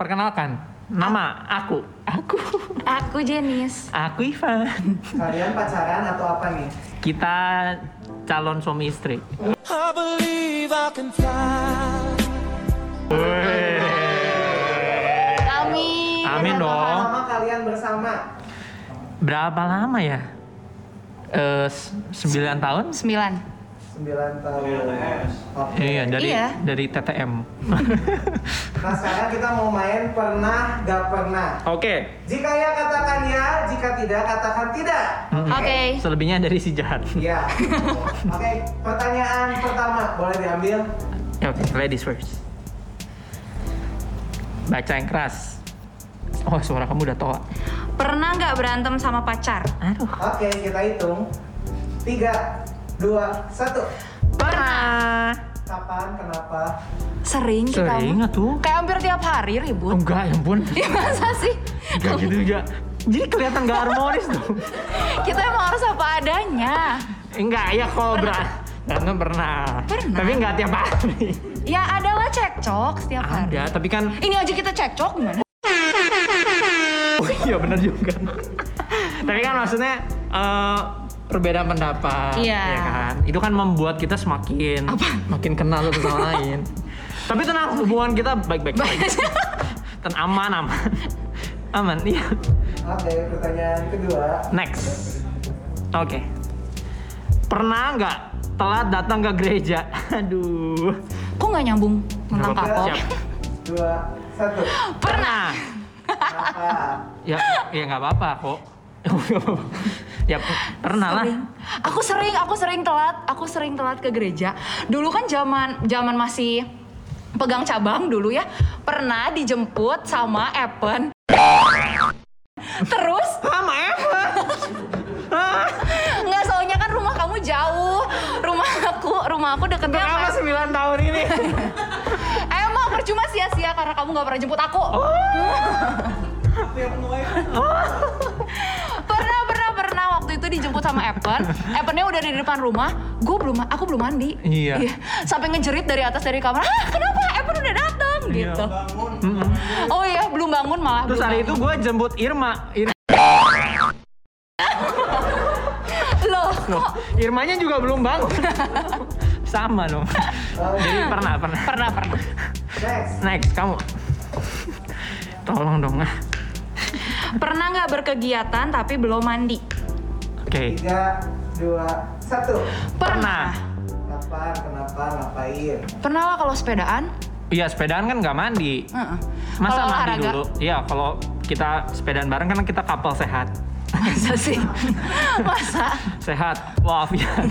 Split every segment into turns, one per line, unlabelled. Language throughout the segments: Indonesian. Perkenalkan, nama aku. Aku.
Aku Jenis.
Aku Ivan.
Kalian pacaran atau apa nih?
Kita calon suami istri.
I believe I can fly.
Amin.
Amin dong.
Lama kalian bersama?
Berapa lama ya? Eh, s- sembilan tahun?
Sembilan.
9 tahun. Oke.
Iya, dari
Iya.
dari TTM.
Nah sekarang kita mau main pernah gak pernah.
Oke.
Jika ya katakan ya, jika tidak katakan tidak.
Oke.
Selebihnya dari si jahat.
Ya. Oke, pertanyaan pertama boleh diambil.
Ya, Oke, ladies first. Baca yang keras. Oh, suara kamu udah tua.
Pernah nggak berantem sama pacar?
Aduh.
Oke, kita hitung. 3 2 1.
Pernah.
Kapan? Kenapa?
Sering kita.
Sering nggak tuh?
Kayak hampir tiap hari
Oh,
ribut.
enggak, ya ampun.
Ya masa sih?
Enggak gitu juga. Jadi kelihatan gak harmonis tuh.
Kita emang harus apa adanya.
Enggak, ya kalau berat. Berantem pernah.
Pernah.
Tapi enggak tiap hari.
Ya adalah cekcok setiap hari.
Ada, tapi kan
Ini aja kita cekcok gimana?
Oh iya benar juga. Tapi kan maksudnya eh, perbedaan pendapat,
Iya.
ya kan? Itu kan membuat kita semakin makin kenal satu sama lain. Tapi tenang, hubungan kita baik-baik saja. Dan aman, aman. Aman, iya.
Oke, ya, pertanyaan kedua.
Next. Oke. Pernah nggak telat datang ke gereja? Aduh.
Kok nggak nyambung tentang
Nggak apa-apa,
kapok?
siap.
2 1.
Pernah.
Kenapa?
Ya, ya nggak apa-apa kok. Nggak apa-apa. ya pernah lah.
Sering. Aku sering, aku sering telat, aku sering telat ke gereja. Dulu kan zaman zaman masih pegang cabang dulu ya, pernah dijemput sama Epen. Terus
Sama Eva.
nggak soalnya kan rumah kamu jauh, rumah aku rumah aku deketnya sama
Kenapa 9 tahun ini?
Emang percuma sia-sia karena kamu nggak pernah jemput aku.
Oh.
pernah pernah pernah waktu itu dijemput sama Evan. Evannya udah di depan rumah. Gue belum aku belum mandi.
Iya.
Sampai ngejerit dari atas dari kamar. Ah kenapa Evan udah datang gitu. Oh iya belum bangun malah.
Iya. Terus
belum
hari itu
bangun.
gue jemput Irma. Ir-
loh.
Loh, Irmanya juga belum bangun. Sama dong. Jadi pernah, pernah.
Pernah pernah.
Next.
Next, kamu. Tolong dong. ah.
Pernah nggak berkegiatan tapi belum mandi.
Oke.
3 2 1.
Pernah.
Kapan? Kenapa? Ngapain?
Pernah lah kalau sepedaan.
Iya, sepedaan kan nggak mandi.
Heeh.
Masa
Kalau
mandi
olahraga,
dulu? Iya, kalau kita sepedaan bareng kan kita kapal sehat.
Masa sih? Masa?
Sehat, walafiat.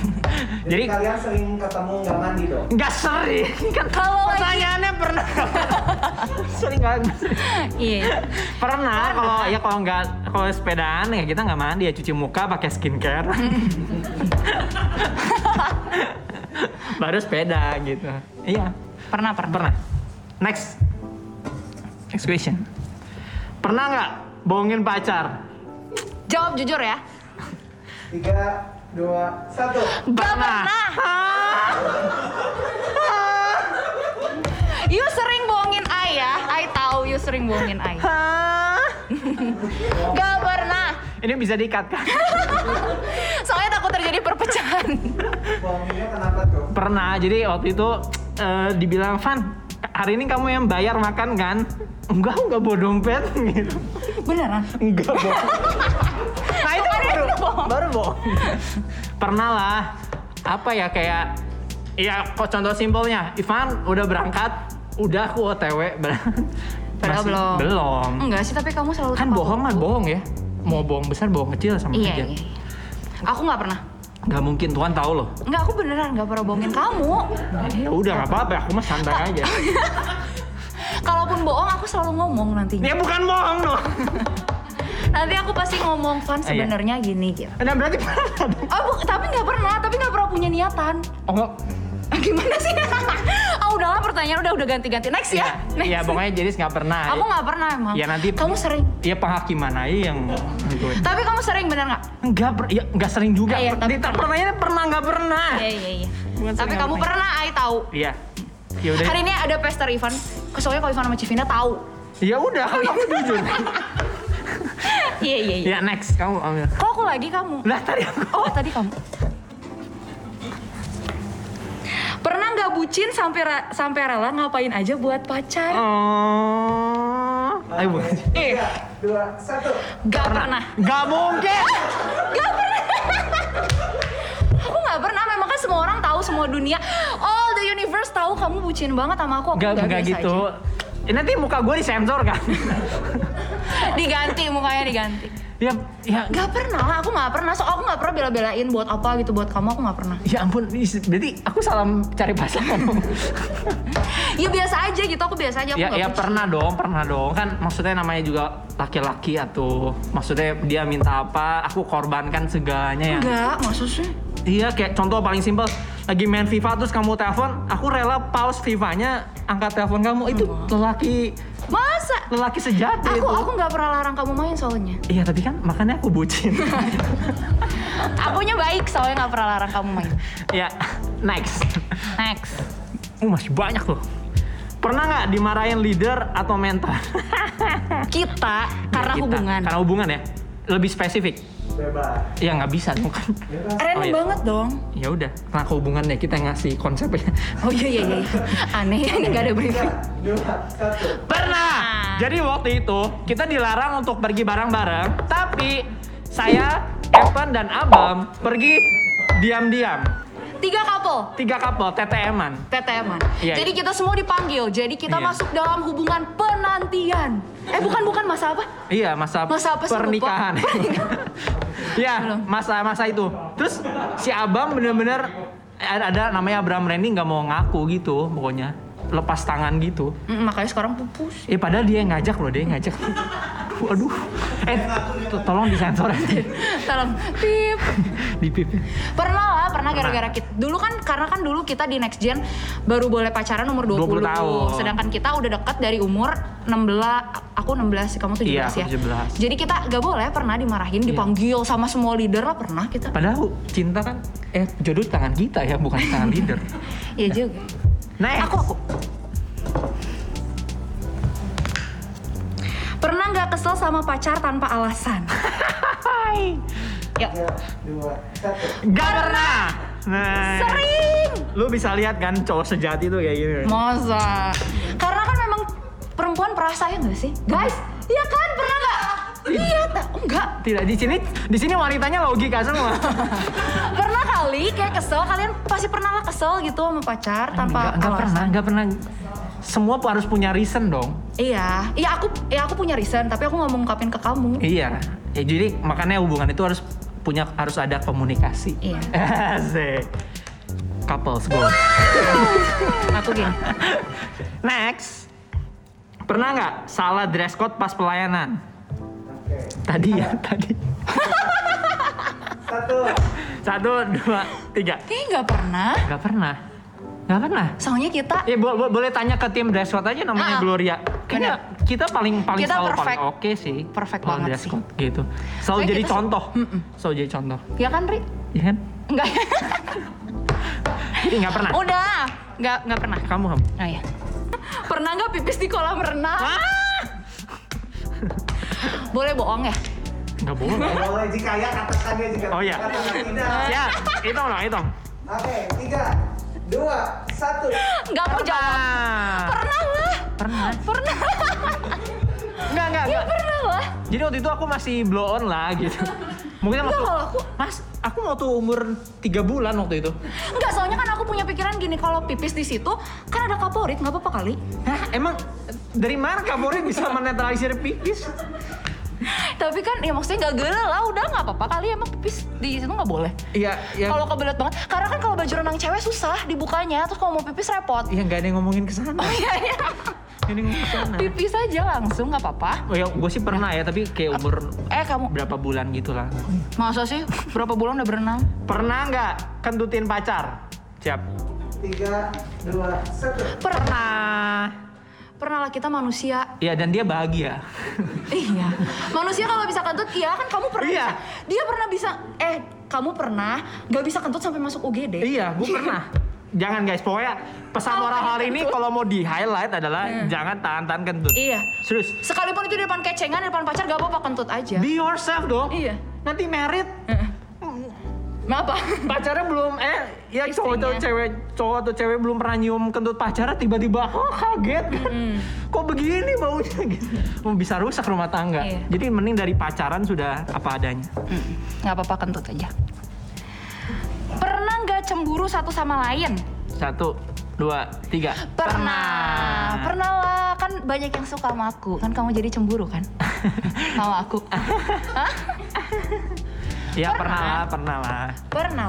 Jadi
Jadi kalian sering ketemu nggak mandi dong?
nggak sering. Kan
Kalau lagi-
pertanyaannya pernah. sering banget.
Iya.
pernah kalau ya kalau nggak kalau sepedaan ya kita nggak mandi ya cuci muka pakai skincare baru sepeda gitu iya
Pernah, pernah.
pernah next next question pernah nggak bohongin pacar
Jawab jujur ya.
Tiga, dua, satu.
Gak pernah.
Ah,
You sering bohongin I ya. I tahu you sering bohongin I.
ah.
Gak pernah.
ini bisa diikat kan
Soalnya takut terjadi perpecahan.
Bohongnya kenapa tuh?
pernah jadi waktu itu eh, dibilang Van hari ini kamu yang bayar makan kan enggak enggak bawa dompet gitu
Beneran?
Enggak bohong. nah itu
Kemarin
baru
itu bohong.
baru bohong. Pernah lah. Apa ya kayak ya kok contoh simpelnya Ivan udah berangkat, udah aku OTW berangkat.
Padahal
Masih-
belum.
Belum.
Enggak sih, tapi kamu selalu
Kan
tepat
bohong mah
waktu.
bohong ya. Mau bohong besar, bohong kecil sama
Iya,
aja.
iya. iya. Aku nggak pernah.
Gak mungkin Tuhan tahu loh.
Enggak, aku beneran nggak pernah bohongin kamu.
Ya udah nggak apa-apa, aku mah santai aja.
Kalaupun bohong, aku selalu ngomong nantinya.
ya bukan bohong loh.
Nanti aku pasti ngomong Van
Iya.
sebenarnya gini gitu.
Nah berarti pernah. dong.
Oh, bu- tapi nggak pernah, tapi nggak pernah punya niatan.
Oh, enggak.
Gimana sih? ah udahlah pertanyaan udah udah ganti-ganti. Next
Iya,
ya. Next.
iya pokoknya jadi nggak pernah.
Aku nggak pernah emang.
Ya nanti
Kamu sering.
Iya penghakiman aja yang gitu. gue.
Tapi kamu sering bener nggak?
Enggak, per, ya, enggak sering juga.
Iya,
Per-
tapi-
Dita, pertanyaannya pernah enggak pernah?
Iya iya iya.
Bukan
Tapi
sering
kamu
apa-apa.
pernah, I tahu.
Iya. Ya udah.
Hari ini ada pesta Ivan. Soalnya kalau Ivan sama Civina tahu.
Ya udah, kan kamu jujur.
Iya iya iya.
ya next, kamu ambil.
Kok aku lagi kamu?
Lah tadi aku.
Oh tadi kamu. Pernah nggak bucin sampai ra- sampai rela ngapain aja buat pacar?
Oh. Ayo bukan.
Eh,
Tiga, dua, satu.
nggak pernah.
Gak mungkin.
Aku nggak pernah. Memang kan semua orang tahu semua dunia, all the universe tahu kamu bucin banget sama aku. Aku
Gak
nggak
gak
biasa
gitu.
aja.
Eh, nanti muka gue disensor kan?
Diganti mukanya diganti.
ya, ya,
Gak pernah lah, aku gak pernah. So, aku gak pernah bela-belain buat apa gitu buat kamu, aku gak pernah.
ya ampun. is- Berarti aku salam cari pasangan.
Ya biasa aja gitu, aku biasa aja. Aku
ya,
gak
ya
bucin.
pernah dong, pernah dong. Kan maksudnya namanya juga laki-laki atau maksudnya dia minta apa, aku korbankan segalanya ya.
Enggak, maksud sih.
Iya, kayak contoh paling simpel lagi main FIFA terus kamu telepon, aku rela pause FIFA-nya, angkat telepon kamu. Itu lelaki
Masa?
lelaki sejati
Aku
itu.
aku gak pernah larang kamu main soalnya.
Iya, tapi kan makanya aku bucin.
Akunya baik soalnya gak pernah larang kamu main.
ya, next.
Next.
Uh, masih banyak loh. Pernah nggak dimarahin leader atau mentor? Iya,
Kita karena
Kita.
hubungan.
Karena hubungan ya. Lebih spesifik.
Bebas.
Ya nggak bisa dong kan.
Random
Oh, iya.
banget dong.
Ya udah, karena hubungan ya kita yang ngasih konsepnya.
Oh iya iya iya. Aneh ini gak ada briefing.
Dua, satu.
Pernah. Jadi waktu itu kita dilarang untuk pergi bareng-bareng, tapi saya, Evan dan Abam pergi diam-diam.
Tiga couple.
Tiga couple TTM-an.
TTM-an.
Iya,
jadi kita semua dipanggil. Jadi kita
Iya.
masuk dalam hubungan penantian. Eh bukan bukan masa apa?
Iya, masa,
Masa apa sih, lupa?
pernikahan. Iya,
Belum.
masa-masa itu. Terus si Abam bener-bener ada, ada namanya Abraham Randy nggak mau ngaku gitu pokoknya. Lepas tangan gitu.
Mm, makanya sekarang pupus.
Eh padahal dia yang ngajak loh, dia yang ngajak. Waduh. Eh, to- tolong disensor aja.
Tolong. Pip.
Di pipi.
Pernah lah, pernah gara-gara kita. Dulu kan karena kan dulu kita di next gen baru boleh pacaran umur 20,
20 tahun.
Sedangkan kita udah deket dari umur 16, aku 16 sih, kamu 17
Iya,
ya.
aku Iya. 17.
Jadi kita gak boleh pernah dimarahin, dipanggil sama semua leader lah pernah kita. Iya
Padahal cinta kan eh jodoh di tangan kita ya, bukan di tangan leader.
Iya juga.
Nah,
Eh, Aku aku. Pernah nggak kesel sama pacar tanpa alasan?
Ya.
Yuk.
Tiga, dua, satu.
gak pernah. Nah,
Sering.
lu bisa lihat kan cowok sejati tuh kayak gini.
Masa? Karena kan memang perempuan perasa ya nggak sih? Guys, iya kan? Pernah nggak? Iya, ta- enggak.
Tidak di sini, di sini wanitanya logika semua.
Pernah kali kayak kesel, kalian pasti pernah lah kesel gitu sama pacar tanpa
Nggak- nggak
alasan.
pernah, nggak pernah. Semua harus punya reason dong.
Iya, iya aku ya aku punya reason, tapi aku nggak mau ngungkapin ke kamu.
Iya. Ya, jadi makanya hubungan itu harus punya harus ada komunikasi.
Iya.
Asik. Couples goal.
aku gini.
Next. Pernah nggak salah dress code pas pelayanan?
Oke.
Tadi ya, tadi.
Satu.
Satu, dua, tiga.
Kayaknya nggak pernah.
Gak pernah. Gak pernah.
Soalnya kita
Ya bo- bo- boleh tanya ke tim dress code aja namanya
Ah,
Gloria. Kayaknya kita paling paling
Kita
selalu
perfect.
paling oke sih.
Perfect
kalau
banget
dress
sih.
code gitu. Selalu
Soalnya
jadi
kita se-
contoh. Selalu jadi contoh.
Ya kan, Ri?
Iya kan?
Enggak.
Ih, nggak pernah.
Udah. Enggak, enggak pernah.
Kamu kamu.
Oh iya. Pernah nggak pipis di kolam renang? Boleh bohong ya?
Nggak boleh.
Boleh jika ya katakan ya jika.
Oh, iya.
katakan tidak.
ya, hitung dong, hitung.
Oke, tiga, dua, satu.
Nggak mau jawab.
Ah,
Pernah lah.
pernah.
Pernah.
Enggak, enggak,
ya
enggak.
pernah lah.
Jadi waktu itu aku masih blow on lah gitu. Mungkin
Enggak
waktu
kalau aku.
Mas, aku waktu umur 3 bulan waktu itu.
Enggak, soalnya kan aku punya pikiran gini, kalau pipis di situ kan ada kaporit, nggak apa-apa kali.
Hah, emang dari mana Kapolri bisa menetralisir pipis?
Tapi kan ya maksudnya nggak gele lah, udah nggak apa-apa kali emang pipis di situ nggak boleh.
Iya, ya.
Kalau kebelet banget, karena kan kalau baju renang cewek susah dibukanya, terus kalau mau pipis repot.
Ya nggak ada yang ngomongin ke sana.
Oh iya iya.
Nggak ada yang ngomongin ke sana.
Pipis aja langsung nggak apa-apa.
Oh ya, gue sih pernah ya, tapi kayak umur
Eh kamu
berapa bulan gitu lah.
masa sih berapa bulan udah berenang?
Pernah nggak kentutin pacar? Siap.
Tiga, dua, satu.
Pernah.
Pernah.
Pernah lah kita manusia.
Iya, dan dia bahagia.
Iya. Manusia kalau bisa kentut, iya kan kamu pernah.
Iya.
bisa- Dia pernah bisa. Eh kamu pernah gak bisa kentut sampai masuk UGD?
iya, gue pernah. Jangan guys, pokoknya pesan
Tahu
moral
kan
hari ini
kentut.
kalau mau di highlight adalah jangan tahan-tahan kentut.
Iya.
Serius.
Sekalipun itu di depan kecengan, di depan pacar gak apa-apa kentut aja.
Be yourself dong.
Iya.
Nanti merit
Kenapa?
pacarnya belum eh ya cowok atau
Istrinya.
cewek cowok atau cewek belum pernah nyium kentut pacarnya tiba-tiba oh, kaget kan
Hmm.
kok begini baunya gitu Oh, bisa rusak rumah tangga
Iya.
jadi mending dari pacaran sudah apa adanya
Gak apa-apa kentut aja. Pernah nggak cemburu satu sama lain?
satu dua tiga
Pernah. Pernah lah, kan banyak yang suka sama aku. Kan kamu jadi cemburu kan? sama aku. Hah?
ya
Pernah.
pernah lah pernah lah
Pernah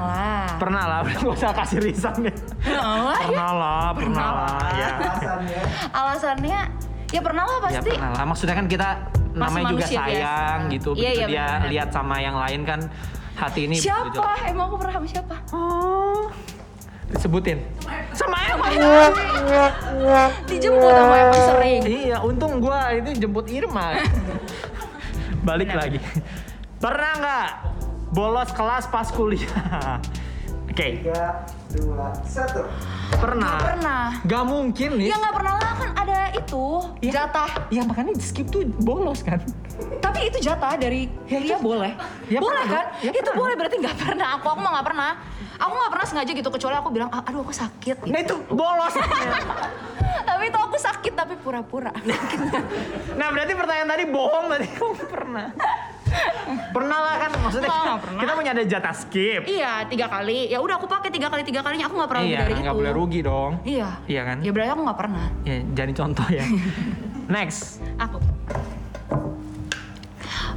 lah.
pernah lah gak usah kasih risan ya
Pernah lah ya.
pernah lah pernah lah ya
Alasannya.
Alasannya ya pernah lah
ya
pasti.
pernah lah maksudnya kan kita namanya juga
manusia biasa.
sayang gitu
Iya, iya,
begitu dia
benar-benar.
lihat sama yang lain kan hati ini begitu
siapa? Emang aku pernah sama siapa?
Oh. disebutin sama Evan
Dijemput sama emang sering.
iya untung gua itu jemput Irma balik lagi pernah nggak bolos kelas pas kuliah oke
Tiga, dua, satu.
pernah
Nggak pernah.
Nggak mungkin nih
Ya nggak pernah lah kan ada itu
Iya.
jatah.
ya makanya di skip tuh bolos kan
Tapi itu jatah dari kuliah boleh.
Ya,
boleh
pernah
kan?
dong. Ya,
itu
pernah
boleh berarti nggak pernah. Aku aku mah nggak pernah. Aku nggak pernah sengaja gitu kecuali aku bilang "Ah, aduh aku sakit. gitu.
nah itu bolos
tapi itu aku sakit tapi pura-pura.
Nah berarti pertanyaan tadi bohong tadi kamu pernah. Pernah lah kan maksudnya
Nggak,
kita,
nggak pernah.
kita punya ada jatah skip.
iya tiga kali. Ya udah aku pakai tiga kali tiga kalinya aku nggak pernah lebih dari
Iya, nggak
itu.
boleh rugi dong.
Iya.
Iya kan?
Ya berarti aku nggak pernah.
Ya, jadi contoh ya. Next.
Aku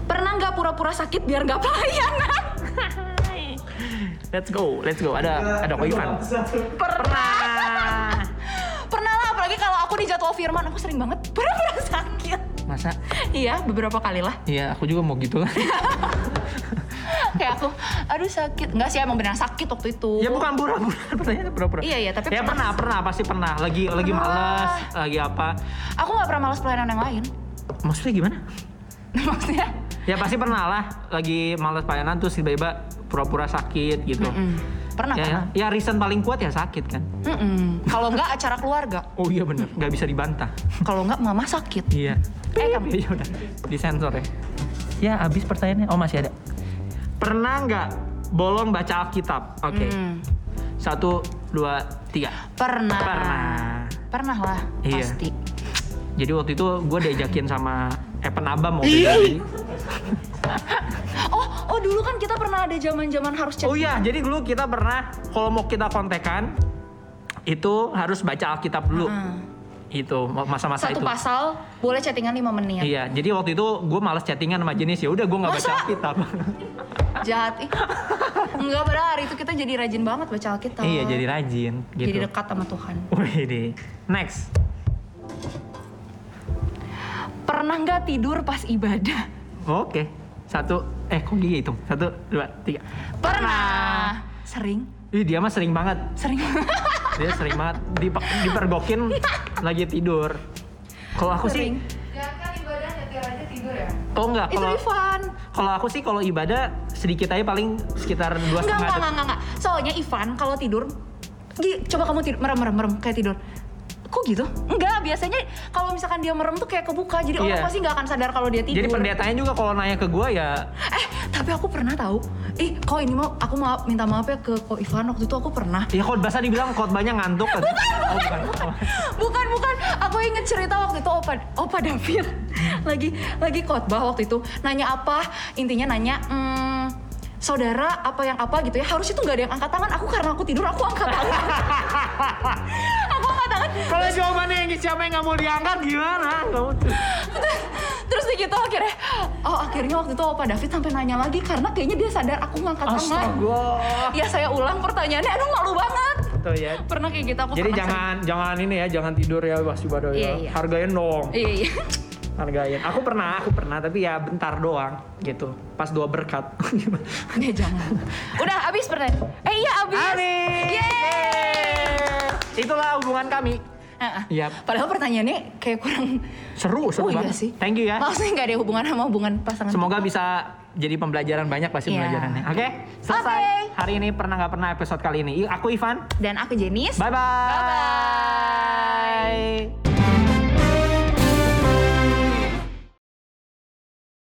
pernah nggak pura-pura sakit biar nggak pelayanan?
Let's go, let's go. Ada ada Ko
Tiga,
Ivan.
dua, Satu.
Pernah.
pernah lah apalagi kalau aku di jadwal firman aku sering banget pura-pura sakit.
Masa?
Iya beberapa kali lah.
Iya, aku juga mau gitu kan.
Kayak aku, aduh sakit. Nggak sih emang benar sakit waktu itu.
ya bukan pura-pura, pertanyaannya pura-pura.
Iya, iya, tapi
ya
pernah.
pernah, pernah, pasti pernah. Lagi lagi
Pernah.
males, lagi apa?
Aku nggak pernah males pelayanan yang lain.
Maksudnya gimana?
Maksudnya?
Ya pasti pernah lah, lagi males pelayanan terus tiba-tiba pura-pura sakit gitu.
Mm, Pernah
ya,
pernah.
ya reason paling kuat ya sakit kan
Mm-mm. Kalau nggak acara keluarga.
oh iya bener nggak bisa dibantah
Kalau nggak mama sakit.
iya
Eh kamu.
ya udah disensor ya ya abis pertanyaannya oh masih ada pernah nggak bolong baca alkitab oke
Hmm,
satu dua tiga
pernah.
Pernah.
Pernah lah,
Iya.
pasti.
jadi waktu itu gue diajakin sama Evan Abam waktu itu Jadi-
Oh, oh dulu kan kita pernah ada zaman-zaman harus cek.
oh iya jadi dulu kita pernah kalau mau kita kontekan itu harus baca alkitab dulu
Ah.
itu masa-masa
Hmm. Satu
itu
pasal boleh chattingan 5 menit.
Iya, jadi waktu itu gue males chattingan sama jenis ya. Udah gue nggak baca
Masa?
alkitab.
Jahat. Ih. Enggak padahal hari itu kita jadi rajin banget baca Alkitab.
Iya jadi rajin gitu.
Jadi dekat sama Tuhan.
Wih deh. Next.
Pernah nggak tidur pas ibadah?
Oke. Satu. Eh kok gigi hitung? Satu, dua, tiga.
Pernah. Sering.
Ih dia mah sering banget.
Sering.
Dia sering banget dipe- dipergokin lagi tidur. Kalau aku sih,
Sering.
oh enggak.
Itu
Kalau
Ivan.
kalau aku sih kalau ibadah sedikit aja paling sekitar
Enggak,
dua setengah
enggak,
detik.
enggak, enggak, enggak. Soalnya Ivan kalau tidur, Gi, coba kamu tidur, merem, merem, merem, kayak tidur. Kok gitu? Enggak, biasanya kalau misalkan dia merem tuh kayak kebuka. Jadi orang
Iya.
pasti nggak akan sadar kalau dia tidur.
Jadi pendetanya juga kalau nanya ke gue ya
Eh, tapi aku pernah tahu. Ih, kok ini mau aku maaf, minta maaf ya ke Ko Ivan waktu itu aku pernah.
Ya kalau bahasa dibilang khotbahnya ngantuk kan? Oh, bukan. Oh.
Bukan, bukan. Aku inget cerita waktu itu Opa, Opa David lagi lagi khotbah waktu itu. Nanya apa? Intinya nanya, hmm, saudara apa yang apa gitu ya. Harus itu nggak ada yang angkat tangan. Aku karena aku tidur, aku angkat tangan. aku angkat tangan.
Kalau jawabannya yang siapa yang nggak mau diangkat gimana? Kamu tuh.
Terus, terus di gitu akhirnya, oh akhirnya waktu itu Opa David sampai nanya lagi karena kayaknya dia sadar aku ngangkat tangan.
Astaga.
Ya saya ulang pertanyaannya, aduh malu banget.
Tuh ya.
Pernah kayak gitu aku
Jadi
pernah
jangan jangan ini ya, jangan tidur ya pas ibadah
Iya,
ya.
iya.
Hargain dong.
sering. Iya, iya.
Hargain. Aku pernah, aku pernah tapi ya bentar doang gitu. Pas dua berkat.
Ya jangan. Udah habis pernah. Eh iya habis.
Amin. Yeay. Itulah hubungan kami.
Heeh.
Yap.
Padahal pertanyaannya kayak kurang
Seru,
Oh
seru
iya
banget.
sih. Oh.
Thank you ya.
Maksudnya nggak ada hubungan sama hubungan pasangan.
Semoga bisa jadi pembelajaran banyak pasti
Iya.
pembelajarannya. Oke, selesai
Oke.
hari ini pernah nggak pernah episode kali ini. Aku Ivan,
Dan aku Jenis.
bye bye.